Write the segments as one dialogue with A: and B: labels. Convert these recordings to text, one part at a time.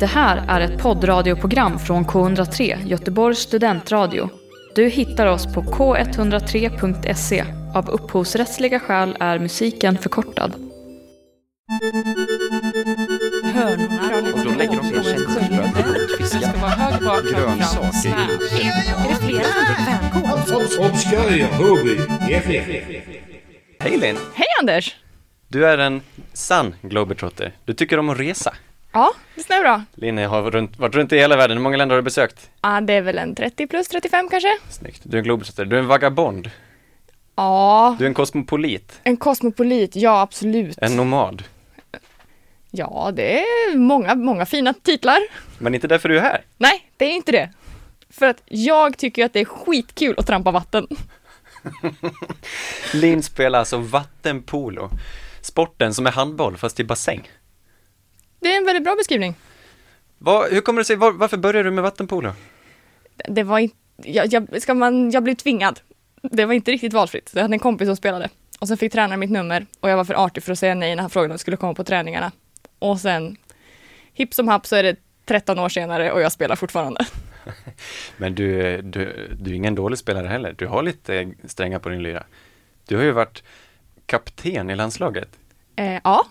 A: Det här är ett poddradioprogram från K103, Göteborgs studentradio. Du hittar oss på k103.se. Av upphovsrättsliga skäl är musiken förkortad.
B: Och då lägger de sina känselspröt i rotfiskar. Grönsaker i rot.
C: Obscurria Hobby FM.
B: Hej Linn!
D: Hej Anders!
B: Du är en sann Mm, globetrotter. Du tycker om att resa.
D: Ja, visst är det bra?
B: Linn har runt, varit runt i hela världen. Hur många länder har du besökt?
D: Ja, det är väl en 30 plus 35 kanske?
B: Snyggt. Du är en globetrotter. Du är en vagabond.
D: Ja,
B: Du är en kosmopolit.
D: en kosmopolit, ja absolut.
B: En nomad.
D: Ja, det är många, många fina titlar.
B: Men inte därför du är här.
D: Nej, det är inte det. För att jag tycker ju att det är skitkul att trampa vatten.
B: Linn spelar alltså vattenpolo. Sporten som är handboll fast i bassäng.
D: Det är en väldigt bra beskrivning.
B: Vad- hur kommer det sig, var, varför började du med vattenpolo?
D: Det var inte, jag, jag, ska man, jag blev tvingad. Det var inte riktigt valfritt. Jag hade en kompis som spelade och sen fick tränaren mitt nummer och jag var för artig för att säga nej när han frågade om jag skulle komma på träningarna. Och sen, hipp som happ så är det 13 år senare och jag spelar fortfarande.
B: Men du, du, du är ingen dålig spelare heller. Du har lite strängar på din lyra. Du har ju varit kapten i landslaget.
D: Eh, ja,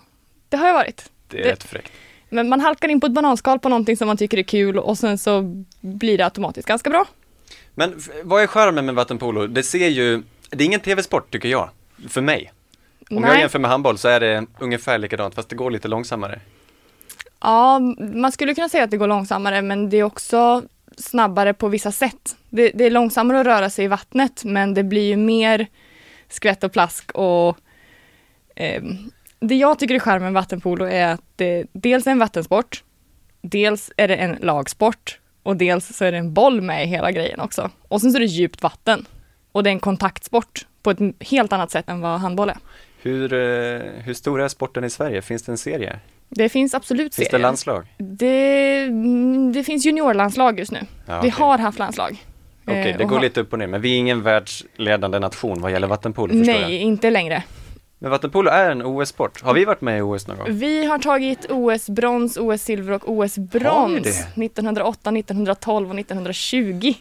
D: det har jag varit.
B: Det är
D: Det-
B: rätt fräckt.
D: Men man halkar in på ett bananskal på någonting som man tycker är kul och sen så blir det automatiskt ganska bra.
B: Men f- vad är charmen med vattenpolo? Det ser ju, det är ingen tv-sport tycker jag, för mig. Om jag
D: Nej.
B: jämför med handboll så är det ungefär likadant, fast det går lite långsammare.
D: Ja, man skulle kunna säga att det går långsammare men det är också snabbare på vissa sätt. Det, det är långsammare att röra sig i vattnet men det blir ju mer skvätt och plask och ehm, det jag tycker är charmen med vattenpolo är att det dels är en vattensport, dels är det en lagsport och dels så är det en boll med i hela grejen också. Och sen så är det djupt vatten och det är en kontaktsport på ett helt annat sätt än vad handboll är.
B: Hur, eh, hur stor är sporten i Sverige? Finns det en serie?
D: Det finns absolut
B: Finns det
D: serier.
B: landslag?
D: Det, mm, det finns juniorlandslag just nu.
B: Ja,
D: Vi
B: okej.
D: har haft landslag.
B: Okej,
D: Eh,
B: det
D: och
B: går
D: har-
B: lite upp och ner, men vi är ingen världsledande nation vad gäller vattenpolo förstår
D: Nej,
B: jag.
D: inte längre.
B: Men vattenpolo är en OS-sport. Har vi varit med i OS någon gång?
D: Vi har tagit OS-brons, OS-silver och
B: Har ni
D: OS-brons
B: det?
D: 1908, 1912 och 1920.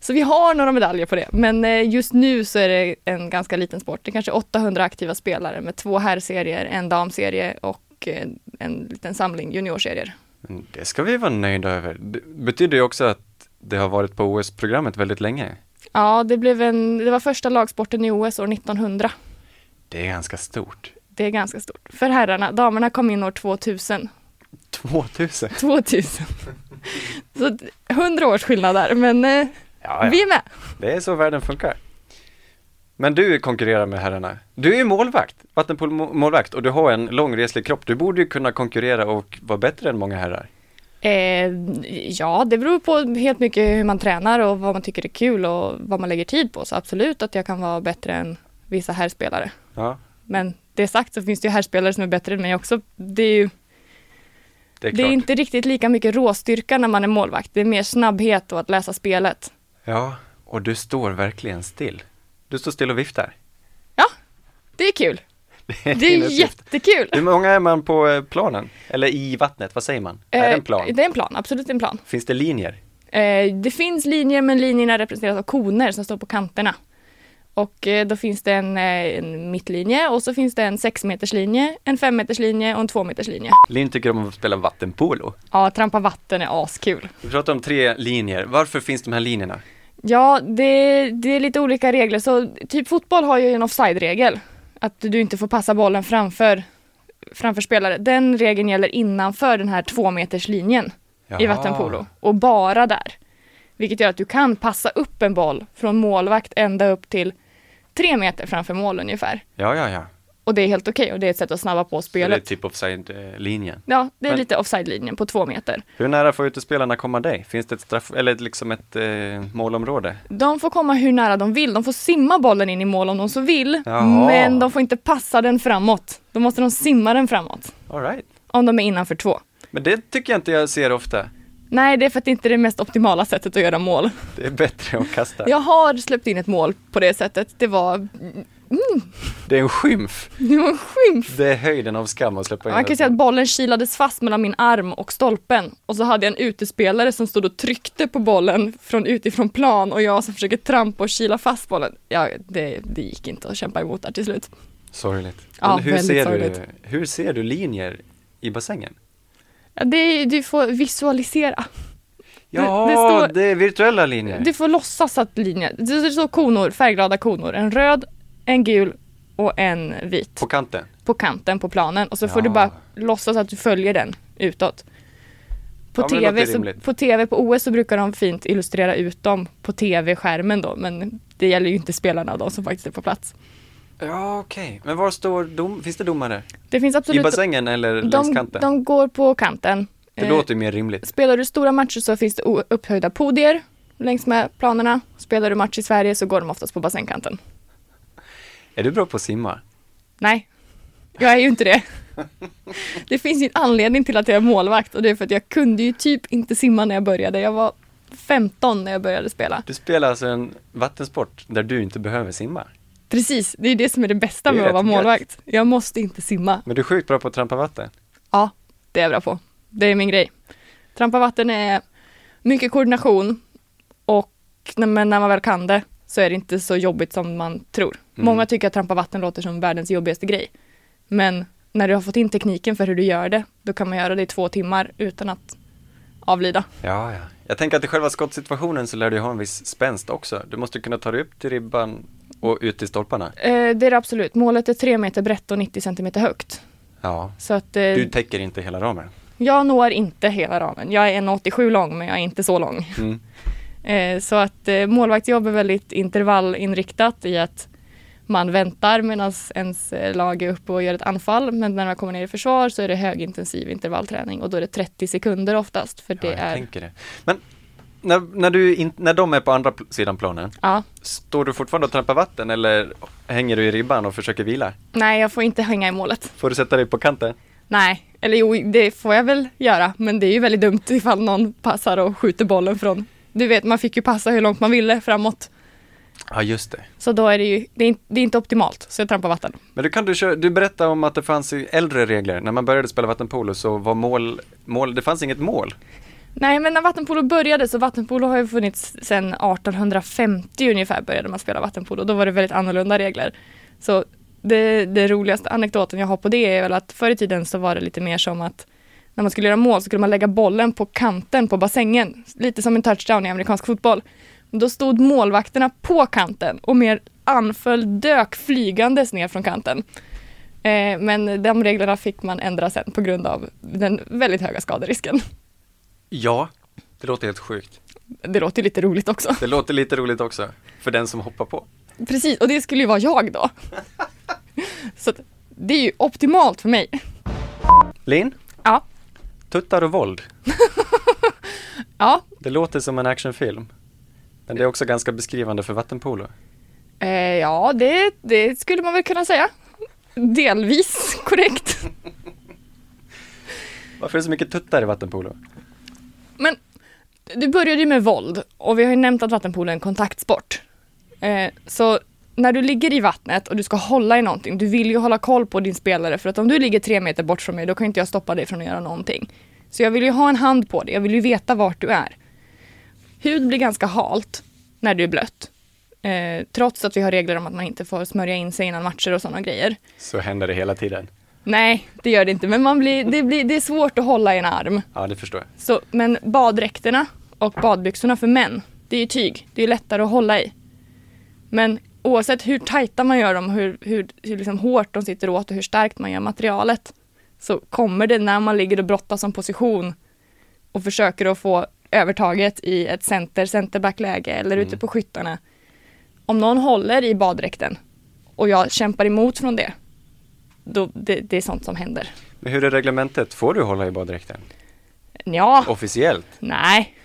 D: Så vi har några medaljer på det, men eh, just nu så är det en ganska liten sport. Det är kanske 800 aktiva spelare med två herrserier, en damserie och eh, en liten samling juniorserier.
B: Men Mm, Det ska vi vara nöjda över. Det betyder ju också att det har varit på OS-programmet väldigt länge.
D: Ja, det, blev en, det var första lagsporten i OS år 1900.
B: Det är ganska stort.
D: Det är ganska stort. För herrarna, damerna kom in år 2000.
B: 2000!
D: 2000. Så d- 100 års skillnad där, men eh,
B: Ja, ja.
D: vi är med.
B: Det är så världen funkar. Men du konkurrerar med herrarna. Du är ju målvakt, vattenpolomålvakt, och du har en långreslig kropp. Du borde ju kunna konkurrera och vara bättre än många herrar.
D: Eh, ja, det beror på helt mycket hur man tränar och vad man tycker är kul och vad man lägger tid på. Så absolut att jag kan vara bättre än vissa herrspelare.
B: Ja,
D: Men det sagt så finns det ju herrspelare som är bättre än mig också. Det är ju
B: det är klart.
D: det är inte riktigt lika mycket råstyrka när man är målvakt. Det är mer snabbhet och att läsa spelet.
B: Ja, och du står verkligen still. Du står still och viftar.
D: Ja, det är kul. Det
B: din
D: är
B: uppgift.
D: jättekul.
B: Hur många är man på eh, planen? Eller i vattnet, vad säger man? är det en plan?
D: Eh, Det är en plan, absolut en plan.
B: Finns det linjer?
D: Eh, Det finns linjer, men linjerna representeras av koner som står på kanterna. Och eh, då finns det en, eh, en mittlinje och så finns det en sexmeterslinje, en femmeterslinje och en tvåmeterslinje.
B: Linn tycker om att spela vattenpolo.
D: Ja, trampa vatten är askul.
B: Vi pratar om tre linjer. Varför finns de här linjerna?
D: Ja, det, det är lite olika regler. Så typ fotboll har ju en offside-regel. Att du inte får passa bollen framför, framför spelare. Den regeln gäller innanför den här tvåmeterslinjen. i
B: Jaha.
D: vattenpolo och bara där. Vilket gör att du kan passa upp en boll från målvakt ända upp till tre meter framför mål ungefär.
B: Ja, ja, ja.
D: Och det är helt okej och det är ett sätt att snabba
B: Det
D: på
B: är
D: spelet.
B: typ offside-linjen.
D: Ja, det är
B: Men-
D: lite offside-linjen på två meter.
B: Hur nära får utespelarna komma dig? Finns det ett straff, eller liksom ett eh, målområde?
D: De får komma hur nära de vill. De får simma bollen in i mål om de så vill.
B: Jaha.
D: Men de får inte passa den framåt. Då måste de simma den framåt.
B: All right.
D: Om de är innanför två.
B: Men det tycker jag inte jag ser ofta.
D: Nej, det är för att det inte är det mest optimala sättet att göra mål.
B: Det är bättre att kasta.
D: Jag har släppt in ett mål på det sättet. Det var
B: Det är en skymf.
D: Det var en skymf.
B: Det är höjden av skam att släppa in
D: Man kan
B: den.
D: säga att bollen kilades fast mellan min arm och stolpen och så hade jag en utespelare som stod och tryckte på bollen från utifrån plan och jag som försöker trampa och kila fast bollen. Ja, det, det gick inte att kämpa emot där till slut.
B: Sorgligt.
D: Ja,
B: Men hur,
D: väldigt
B: ser
D: sorgligt.
B: Du, hur ser du linjer i bassängen?
D: Ja, det, du får visualisera.
B: Ja, det,
D: det står-
B: är virtuella linjer.
D: Du får låtsas att linjen, det det står konor, färgglada konor, en röd, en gul och en vit
B: På kanten.
D: på kanten på planen och så får
B: Ja.
D: du bara låtsas att du följer den utåt. På,
B: Ja, men det
D: TV,
B: låter
D: så,
B: rimligt.
D: på TV på OS så brukar de fint illustrera ut dem på TV-skärmen då men det gäller ju inte spelarna de som faktiskt är på plats.
B: Ja, okej. Men var står dom... Finns det domare?
D: Det finns absolut...
B: I bassängen eller längs
D: de,
B: kanten?
D: de går på kanten.
B: det
D: Eh,
B: låter ju mer rimligt.
D: Spelar du stora matcher så finns det o- upphöjda podier längs med planerna. Spelar du match i Sverige så går de oftast på bassängkanten.
B: Är du bra på att simma?
D: Nej, jag är ju inte det. Det finns ju en anledning till att jag är målvakt och det är för att jag kunde ju typ inte simma när jag började. Jag var 15 när jag började spela.
B: Du spelar alltså en vattensport där du inte behöver simma.
D: Precis, det är ju det som är det bästa
B: Det är
D: med att vara
B: rätt gött.
D: målvakt. Jag måste inte simma.
B: Men du är sjukt bra på att trampa vatten.
D: Ja, det är jag bra på. Det är min grej. Trampa vatten är mycket koordination och när- men när man väl kan det så är det inte så jobbigt som man tror. Många tycker att trampa vatten låter som världens jobbigaste grej. Men när du har fått in tekniken för hur du gör det, då kan man göra det i två timmar utan att avlida.
B: Ja, ja. Jag tänker att i själva skottsituationen så lär du ju ha en viss spänst också. Du måste kunna ta dig upp till ribban och ut till stolparna.
D: Eh, det är det absolut. Målet är tre meter brett och 90 centimeter högt.
B: Ja.
D: Så att eh,
B: Du täcker inte hela ramen.
D: jag når inte hela ramen. Jag är 1,87 lång, men jag är inte så lång.
B: Mm.
D: Eh, Så att eh, målvaktsjobb är väldigt intervallinriktat i att man väntar medan ens eh, lag är uppe och gör ett anfall. Men när man kommer ner i försvar så är det högintensiv intervallträning och då är det 30 sekunder oftast. För
B: Ja,
D: det
B: jag
D: är...
B: tänker det. Men när, när, du in, när de är på andra pl- sidan planen,
D: Ja.
B: står du fortfarande och trampar vatten eller hänger du i ribban och försöker vila?
D: Nej, jag får inte hänga i målet.
B: Får du sätta dig på kanten?
D: Nej, eller jo, det får jag väl göra. Men det är ju väldigt dumt ifall någon passar och skjuter bollen från... Du vet, man fick ju passa hur långt man ville framåt.
B: Ja, just det.
D: Så då är det ju... Det är, in- det är inte optimalt, så jag trampar vatten.
B: Men du kan du, köra, du berätta om att det fanns i äldre regler. När man började spela vattenpolo så var mål, mål, det fanns inget mål.
D: Nej, men när vattenpolo började, så vattenpolo har ju funnits sedan 1850 ungefär började man spela vattenpolo. Då var det väldigt annorlunda regler. Så det, det roligaste anekdoten jag har på det är väl att förr i tiden så var det lite mer som att när man skulle göra mål så skulle man lägga bollen på kanten på bassängen. Lite som en touchdown i amerikansk fotboll. Då stod målvakterna på kanten och mer anföll dök flygandes ner från kanten. Eh, men de reglerna fick man ändra sen på grund av den väldigt höga skaderisken.
B: Ja, det låter helt sjukt.
D: Det låter ju lite roligt också.
B: Det låter lite roligt också, för den som hoppar på.
D: Precis, och det skulle ju vara jag då. Så att det är ju optimalt för mig.
B: Linn,
D: Ja,
B: tuttar och våld.
D: ja.
B: Det låter som en actionfilm. Men det är också ganska beskrivande för vattenpolo.
D: Eh, ja, det, det skulle man väl kunna säga. Delvis korrekt.
B: Varför är det så mycket tuttar i vattenpolo?
D: Men du började ju med våld och vi har ju nämnt att vattenpolo är en kontaktsport. Eh, så när du ligger i vattnet och du ska hålla i någonting, du vill ju hålla koll på din spelare för att om du ligger tre meter bort från mig då kan inte jag stoppa dig från att göra någonting. Så jag vill ju ha en hand på dig, jag vill ju veta vart du är. Hud blir ganska halt när du är blött. Eh, trots att vi har regler om att man inte får smörja in sig innan matcher och sådana grejer.
B: Så händer det hela tiden.
D: Nej, det gör det inte, men man blir, det, blir, det är svårt att hålla i en arm.
B: Ja, det förstår jag.
D: Så, men baddräkterna och badbyxorna för män, det är ju tyg. Det är ju lättare att hålla i. Men oavsett hur tajta man gör dem, hur, hur, hur liksom hårt de sitter åt och hur starkt man gör materialet så kommer det när man ligger och brottas som position och försöker att få övertaget i ett center, centerbackläge eller ute på skyttarna. Om någon håller i baddräkten och jag kämpar emot från det, då, det, det är sånt som händer.
B: Men hur är reglementet? Får du hålla i baddräkten?
D: Ja.
B: Officiellt?
D: Nej,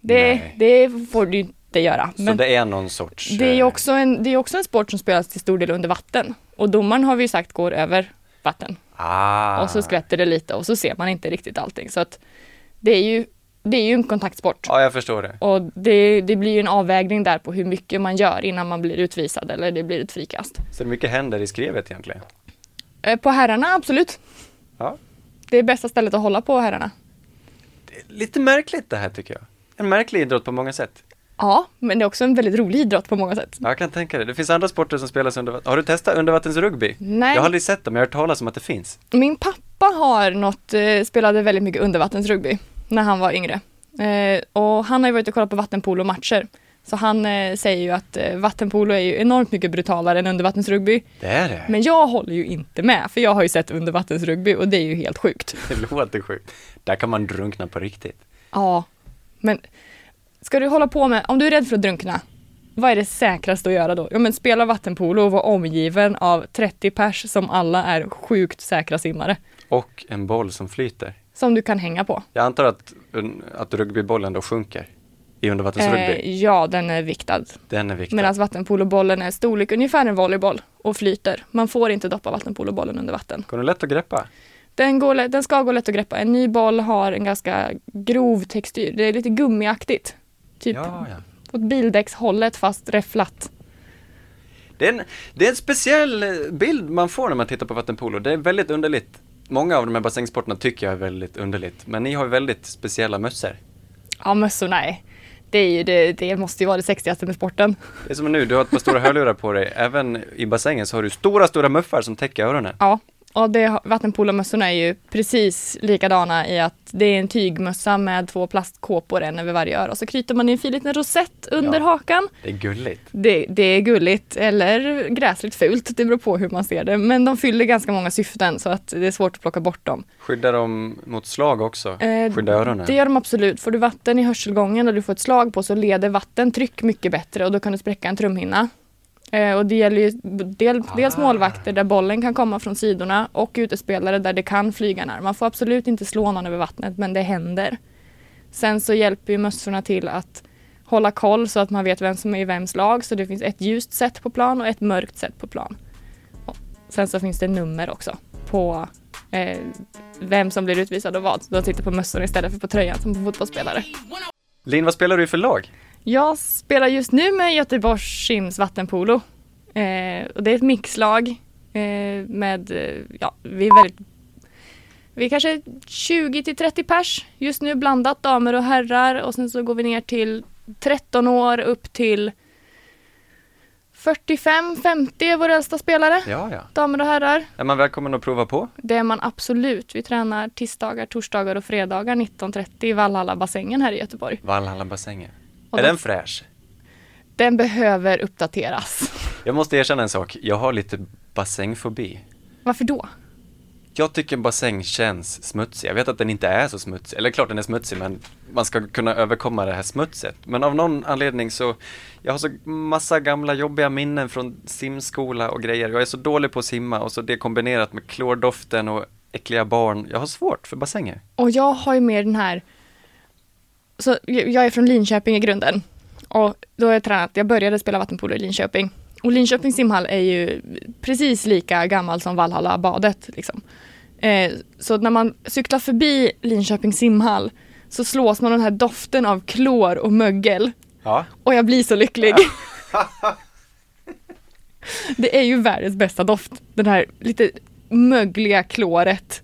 D: det,
B: Nej.
D: det får du inte göra.
B: så
D: Men det,
B: det är någon sorts...
D: är ju
B: eh,
D: också en, det är också en sport som spelas till stor del under vatten. Och domaren har vi ju sagt går över vatten.
B: Ah.
D: Och så skvätter det lite och så ser man inte riktigt allting. Så att det är ju det är ju en kontaktsport.
B: Ja, jag förstår det.
D: Och det, det blir ju en avvägning där på hur mycket man gör innan man blir utvisad eller det blir ett frikast.
B: Så det är mycket händer i skrevet egentligen.
D: Eh, På herrarna, absolut.
B: Ja.
D: Det är bästa stället att hålla på herrarna.
B: Det är lite märkligt det här tycker jag. En märklig idrott på många sätt.
D: Ja, men det är också en väldigt rolig idrott på många sätt.
B: Ja, jag kan tänka det. Det finns andra sporter som spelas under vatten. Har du testat undervattensrugby?
D: Nej.
B: Jag har aldrig sett det, men jag har hört talas om att det finns.
D: Min pappa har något, eh, spelade väldigt mycket undervattensrugby när han var yngre. Eh, och han har ju varit och kollat på vattenpolomatcher. Så han eh, säger ju att eh, vattenpolo är ju enormt mycket brutalare än undervattensrugby.
B: Det är det.
D: Men jag håller ju inte med, för jag har ju sett undervattensrugby och det är ju helt sjukt.
B: Det låter sjukt. Där kan man drunkna på riktigt.
D: Ja, men ska du hålla på med, om du är rädd för att drunkna, vad är det säkraste att göra då? Ja men spela vattenpolo och vara omgiven av 30 pers som alla är sjukt säkra simmare.
B: Och en boll som flyter.
D: Som du kan hänga på.
B: Jag antar att, att rugbybollen då sjunker i undervattensrugby.
D: Eh, alltså- ja, den är viktad.
B: Den är viktig.
D: Medan vattenpolobollen är storlek ungefär en volleyboll och flyter. Man får inte doppa vattenpolobollen under vatten.
B: Går den lätt att greppa?
D: Den, går, lä- den ska gå lätt att greppa. En ny boll har en ganska grov textyr. Det är lite gummiaktigt. Typ
B: Ja, ja.
D: åt bildäckshållet fast räfflat.
B: Det är, en, det är en speciell eh, bild man får när man tittar på vattenpolo. Det är väldigt underligt. Många av de här bassängsporterna tycker jag är väldigt underligt. Men ni har ju väldigt speciella mössor.
D: Ja, mössorna är... Det, är ju, det, det måste ju vara det sexigaste med sporten.
B: Det är som nu, du har ett par stora hörlurar på dig. Även i bassängen så har du stora, stora muffar som täcker öronen.
D: Ja, och det, vattenpolomössorna är ju precis likadana i att det är en tygmössa med två plastkåpor, en över varje öra. Och så knyter man i en fin liten rosett under
B: Ja.
D: hakan.
B: Det är gulligt.
D: Det, det är gulligt eller gräsligt fult, det beror på hur man ser det. Men de fyller ganska många syften så att det är svårt att plocka bort dem.
B: Skyddar dem mot slag också.
D: Eh,
B: Skyddar öronen.
D: Det gör de absolut. Får du vatten i hörselgången och du får ett slag på så leder vattentryck mycket bättre och då kan du spräcka en trumhinna. Eh, och det gäller ju del, dels målvakter där bollen kan komma från sidorna och utespelare där det kan flyga när. Man får absolut inte slå någon över vattnet men det händer. Sen så hjälper ju mössorna till att hålla koll så att man vet vem som är i vems lag så det finns ett ljust sätt på plan och ett mörkt sätt på plan. Och sen så finns det nummer också på eh, vem som blir utvisad och vad. De tittar på mössorna istället för på tröjan som på fotbollsspelare.
B: Linn, vad spelar du för lag?
D: Jag spelar just nu med Göteborgs Sims vattenpolo. Eh, och det är ett mixlag eh, med, eh, ja, vi är väldigt, vi är kanske 20 till 30 pers just nu blandat damer och herrar och sen så går vi ner till 13 år upp till 45-50 är vår äldsta spelare,
B: Ja, ja.
D: damer och herrar.
B: Är man välkommen att prova på?
D: Det är man absolut. Vi tränar tisdagar, torsdagar och fredagar 19.30 i Vallhallabassängen här i Göteborg.
B: Valhalla-bassängen.
D: Och
B: Är
D: då-
B: den fräsch?
D: Den behöver uppdateras.
B: Jag måste erkänna en sak. Jag har lite bassängfobi.
D: Varför då?
B: Jag tycker en bassäng känns smutsig. Jag vet att den inte är så smutsig. Eller klart den är smutsig, men man ska kunna överkomma det här smutset. Men av någon anledning så, jag har så massa gamla jobbiga minnen från simskola och grejer. Jag är så dålig på att simma och så det kombinerat med klordoften och äckliga barn. Jag har svårt för bassänger.
D: Och jag har ju mer den här... Så jag jag är från Linköping i grunden. Och då har jag tränat, jag började spela vattenpolo i Linköping. Och Linköpings simhall är ju precis lika gammal som Valhallabadet. Liksom. Eh, så när man cyklar förbi Linköpings simhall så slås man av den här doften av klor och mögel.
B: Ja.
D: Och jag blir så lycklig. det är ju världens bästa doft. Den här lite mögliga kloret.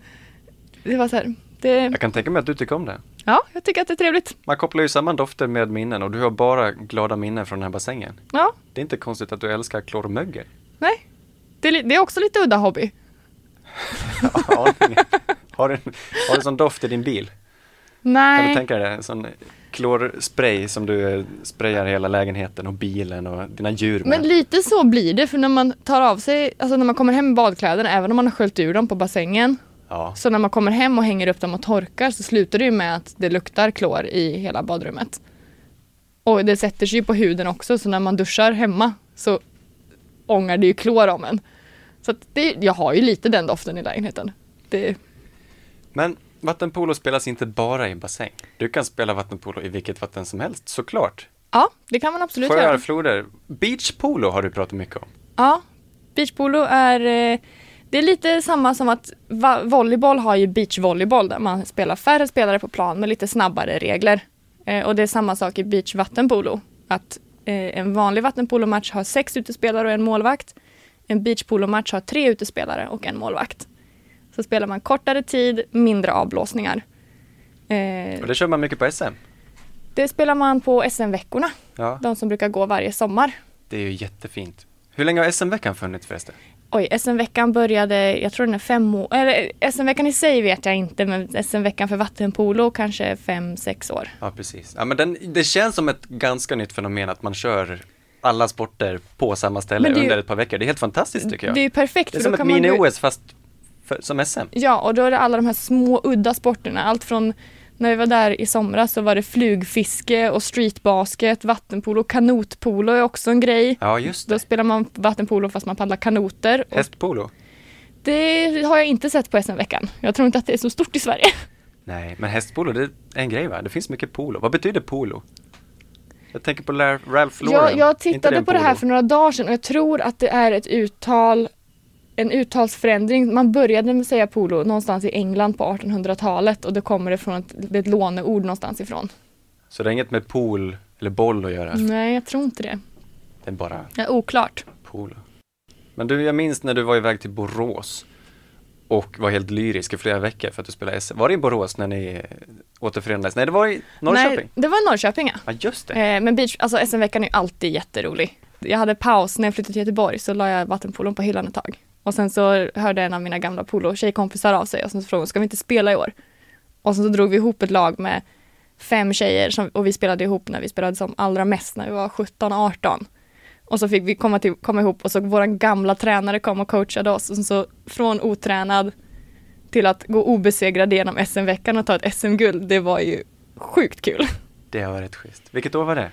D: Det var så här, det,
B: Jag kan tänka mig att du tycker om det.
D: ja, jag tycker att det är trevligt.
B: Man kopplar ju samman dofter med minnen och du har bara glada minnen från den här bassängen.
D: Ja,
B: Det är inte konstigt att du älskar klormögel.
D: nej. Det är, li- det är också lite udda hobby.
B: Aningen. har du har du sån doft i din bil? Kan du
D: Nej,
B: tänka dig det? En sån klorspray som du eh, sprayar hela lägenheten och bilen och dina djur med.
D: men lite så blir det för när man tar av sig, alltså när man kommer hem med badkläderna, även om man har sköljt ur dem på bassängen,
B: Ja,
D: så när man kommer hem och hänger upp dem och torkar så slutar det ju med att det luktar klor i hela badrummet. Och det sätter sig ju på huden också så när man duschar hemma så ångar det ju klor om en. Så att det, jag har ju lite den doften i lägenheten. Det,
B: men vattenpolo spelas inte bara i bassäng. Du kan spela vattenpolo i vilket vatten som helst, såklart.
D: ja, det Mm. kan man absolut
B: Sjöar,
D: göra.
B: floder. Beachpolo har du pratat mycket om.
D: Ja, beachpolo är eh, Det är lite samma som att va- volleyboll har ju beachvolleyboll där man spelar färre spelare på plan med lite snabbare regler. Eh, och det är samma sak i beachvattenpolo. Att eh, en vanlig vattenpolomatch har sex utespelare och en målvakt. En beachpolomatch har tre utespelare och en målvakt. Så spelar man kortare tid, mindre avblåsningar. Eh,
B: Och det kör man mycket på SM.
D: det spelar man på SM-veckorna,
B: Ja,
D: de som brukar gå varje sommar.
B: det är ju jättefint. Hur länge har SM-veckan funnits förresten?
D: Oj, SM-veckan började, jag tror den är fem år, eller eh, SM-veckan i sig vet jag inte, men SM-veckan för vattenpolo kanske är fem, sex år.
B: Ja, precis. Ja, men den, det känns som ett ganska nytt fenomen att man kör alla sporter på samma ställe
D: Men det är ju-
B: under ett par veckor. Det är helt fantastiskt tycker jag.
D: Det är ju perfekt.
B: Det är
D: för
B: som
D: då
B: ett
D: kan man gå ut-
B: mini-OS fast för, som SM.
D: Ja, och då är det alla de här små udda sporterna. Allt från när vi var där i somras så var det flugfiske och streetbasket, vattenpolo, kanotpolo är också en grej.
B: Ja, just
D: Då
B: det.
D: spelar man vattenpolo fast man paddlar kanoter. Och
B: Hästpolo.
D: det har jag inte sett på SM-veckan. Jag tror inte att det är så stort i Sverige.
B: Nej, men hästpolo det är en grej va? Det finns mycket polo. Vad betyder polo? Jag tänker på Lar- Ralph Lauren.
D: Jag, jag
B: Inte
D: tittade
B: en
D: på det här
B: polo?
D: för några dagar sedan och jag tror att det är ett uttal, en uttalsförändring. Man började med att säga polo någonstans i England på 1800-talet och då kommer det från ett, det är ett låneord någonstans ifrån.
B: Så det har inget med pool eller boll att göra.
D: Nej, jag tror inte det.
B: Det är bara
D: Ja, oklart.
B: polo. Men du, jag minns när du var iväg till Borås och var helt lyrisk i flera veckor för att du spelade SM. Var det i Borås när ni eh, återförenades? Nej, det var i Norrköping.
D: Nej, det var i Norrköping ja.
B: Ja, just det.
D: Eh, men beach, alltså SM-veckan är ju alltid jätterolig. Jag hade paus när jag flyttade till Göteborg så la jag vattenpolon på hyllan ett tag. Och sen så hörde en av mina gamla polo-tjejkompisar av sig och sen så frågade hon, ska vi inte spela i år? Och sen så drog vi ihop ett lag med fem tjejer som, och vi spelade ihop när vi spelade som allra mest när vi var 17-18. Och så fick vi komma, till, komma ihop och så våra gamla tränare kom och coachade oss och sen så från otränad till att gå obesegrad genom SM-veckan och ta ett SM-guld, det var ju sjukt kul.
B: Det var rätt schysst. Vilket år var det?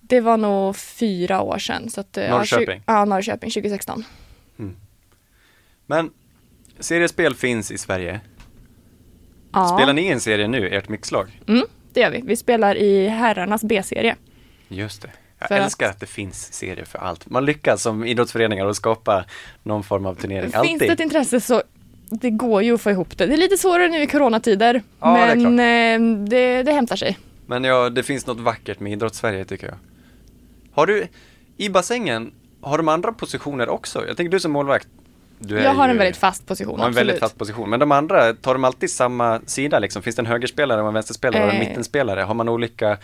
D: Det var nog fyra år sedan. Så att, eh, ja,
B: Norrköping?
D: tju- Ja, Norrköping 2016.
B: Men seriespel finns i Sverige.
D: Ja,
B: Spelar ni en serie nu, ert mixlag?
D: mm, det gör vi. Vi spelar i herrarnas B-serie.
B: Just det. Jag
D: För att-
B: älskar att... det finns serier för allt. Man lyckas som idrottsföreningar att skapa någon form av turnering.
D: Finns det ett intresse så det går ju att få ihop det. Det är lite svårare nu i coronatider.
B: Ja, det är
D: men eh, det, det hämtar sig.
B: Men ja, det finns något vackert med idrottssverige tycker jag. Har du, i bassängen, har de andra positioner också? Jag tänker du som målvakt. Du är
D: Jag har
B: ju-
D: en väldigt fast position.
B: har en
D: absolut.
B: väldigt fast position. Men de andra, tar de alltid samma sida liksom? Finns det en högerspelare och en vänsterspelare och en
D: Eh.
B: mittenspelare? Har man olika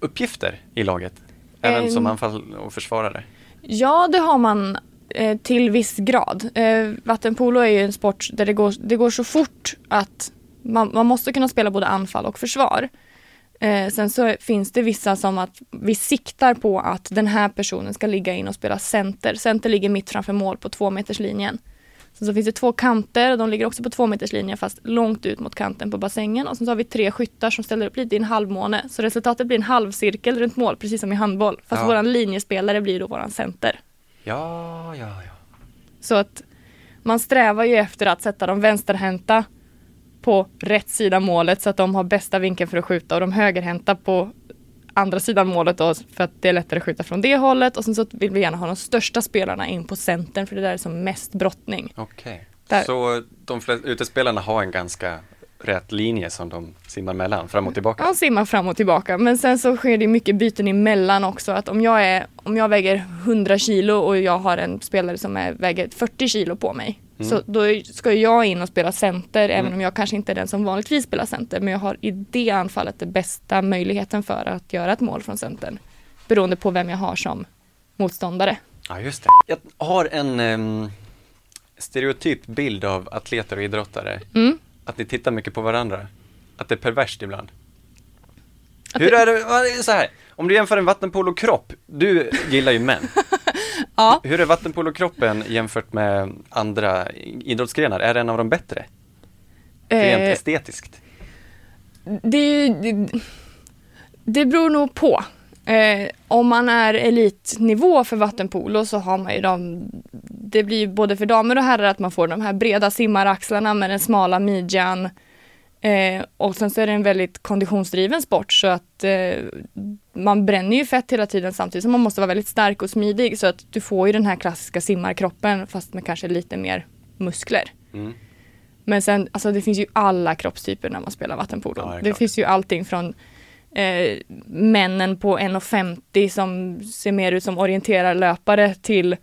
B: uppgifter i laget? Även
D: Eh.
B: som anfall och försvarare?
D: Ja, det har man eh, till viss grad. Eh, vattenpolo är ju en sport där det går, det går så fort att man, man måste kunna spela både anfall och försvar. Eh, sen så finns det vissa som att vi siktar på att den här personen ska ligga in och spela center. Center ligger mitt framför mål på två meters linjen. Sen så finns det två kanter och de ligger också på två meters linjen fast långt ut mot kanten på bassängen. Och sen så har vi tre skyttar som ställer upp lite i en halvmåne. Så resultatet blir en halvcirkel runt mål, precis som i handboll. Fast
B: Ja.
D: våran linjespelare blir då våran center.
B: Ja, ja, ja.
D: Så att man strävar ju efter att sätta de vänsterhänta på rätt sida målet så att de har bästa vinkeln för att skjuta och de högerhänta på andra sidan målet då för att det är lättare att skjuta från det hållet och sen så vill vi gärna ha de största spelarna in på centern för det där är som mest brottning.
B: Okej.
D: Där.
B: Så de flesta utespelarna har en ganska rät linje som de simmar mellan, fram och tillbaka?
D: Ja, simmar fram och tillbaka. Men sen så sker det mycket byten emellan också. Att om jag, är, om jag väger 100 kilo och jag har en spelare som är, väger 40 kilo på mig. Så då är- ska ju jag in och spela center, även om jag kanske inte är den som vanligtvis spelar center. Men jag har i det anfallet den bästa möjligheten för att göra ett mål från centern. Beroende på vem jag har som motståndare.
B: Ja, just det. Jag har en ehm, stereotyp bild av atleter och idrottare. Att ni tittar mycket på varandra. Att det är perverst ibland. Hur är det, vad är det så här, om du jämför en vattenpolokropp, du gillar ju män.
D: Ja.
B: Hur är vattenpolokroppen jämfört med andra idrottsgrenar? Är den av de bättre? Rent
D: Eh,
B: estetiskt?
D: det, är ju- det, det beror nog på. Eh, om man är elitnivå för vattenpolo så har man ju de, det blir ju både för damer och herrar att man får de här breda simmaraxlarna med den smala midjan. Eh, och sen så är det en väldigt konditionsdriven sport så att eh, man bränner ju fett hela tiden samtidigt som man måste vara väldigt stark och smidig så att du får ju den här klassiska simmarkroppen fast med kanske lite mer muskler.
B: Mm.
D: Men sen, alltså det finns ju alla kroppstyper när man spelar vattenpolo.
B: Ja, det är
D: det
B: klart.
D: finns ju allting från eh, männen på 1,50 som ser mer ut som orienterarlöpare till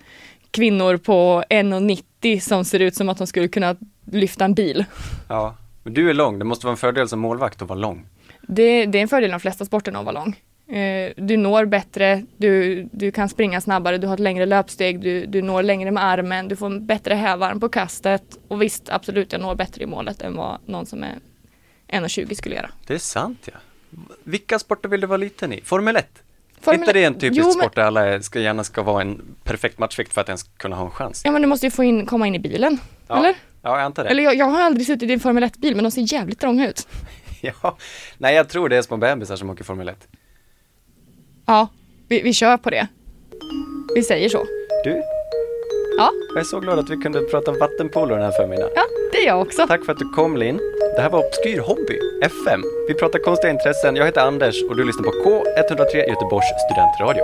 D: kvinnor på 1,90 som ser ut som att de skulle kunna lyfta en bil.
B: Ja. Men du är lång, det måste vara en fördel som målvakt att vara lång.
D: Det, det är en fördel i de flesta sporterna att vara lång. Eh, du når bättre, du, du kan springa snabbare, du har ett längre löpsteg, du, du når längre med armen, du får en bättre hävarm på kastet och visst, absolut, jag når bättre i målet än vad någon som är 1,20 skulle göra.
B: Det är sant ja. Vilka sporter vill du vara liten i? Formel 1?
D: Formel
B: inte det en
D: 1?
B: typisk
D: Jo, men-
B: sport där alla är- ska, gärna ska vara en perfekt matchvikt för att ens kunna ha en chans?
D: Ja, men du måste ju få in, komma in i bilen,
B: Ja.
D: eller?
B: Ja, jag antar det.
D: Eller jag, jag har aldrig suttit i en Formel 1-bil, men de ser jävligt trånga ut.
B: Ja. Nej, jag tror det är små bebisar som åker Formel 1.
D: Ja, vi, vi kör på det. Vi säger så.
B: Du,
D: Ja,
B: jag är så glad att vi kunde prata vattenpolo den här förmiddagen.
D: ja det är jag också.
B: Tack för att du kom Linn. Det här var Obskyr Hobby, FM. Vi pratar konstiga intressen. Jag heter Anders och du lyssnar på K103 Göteborgs studentradio.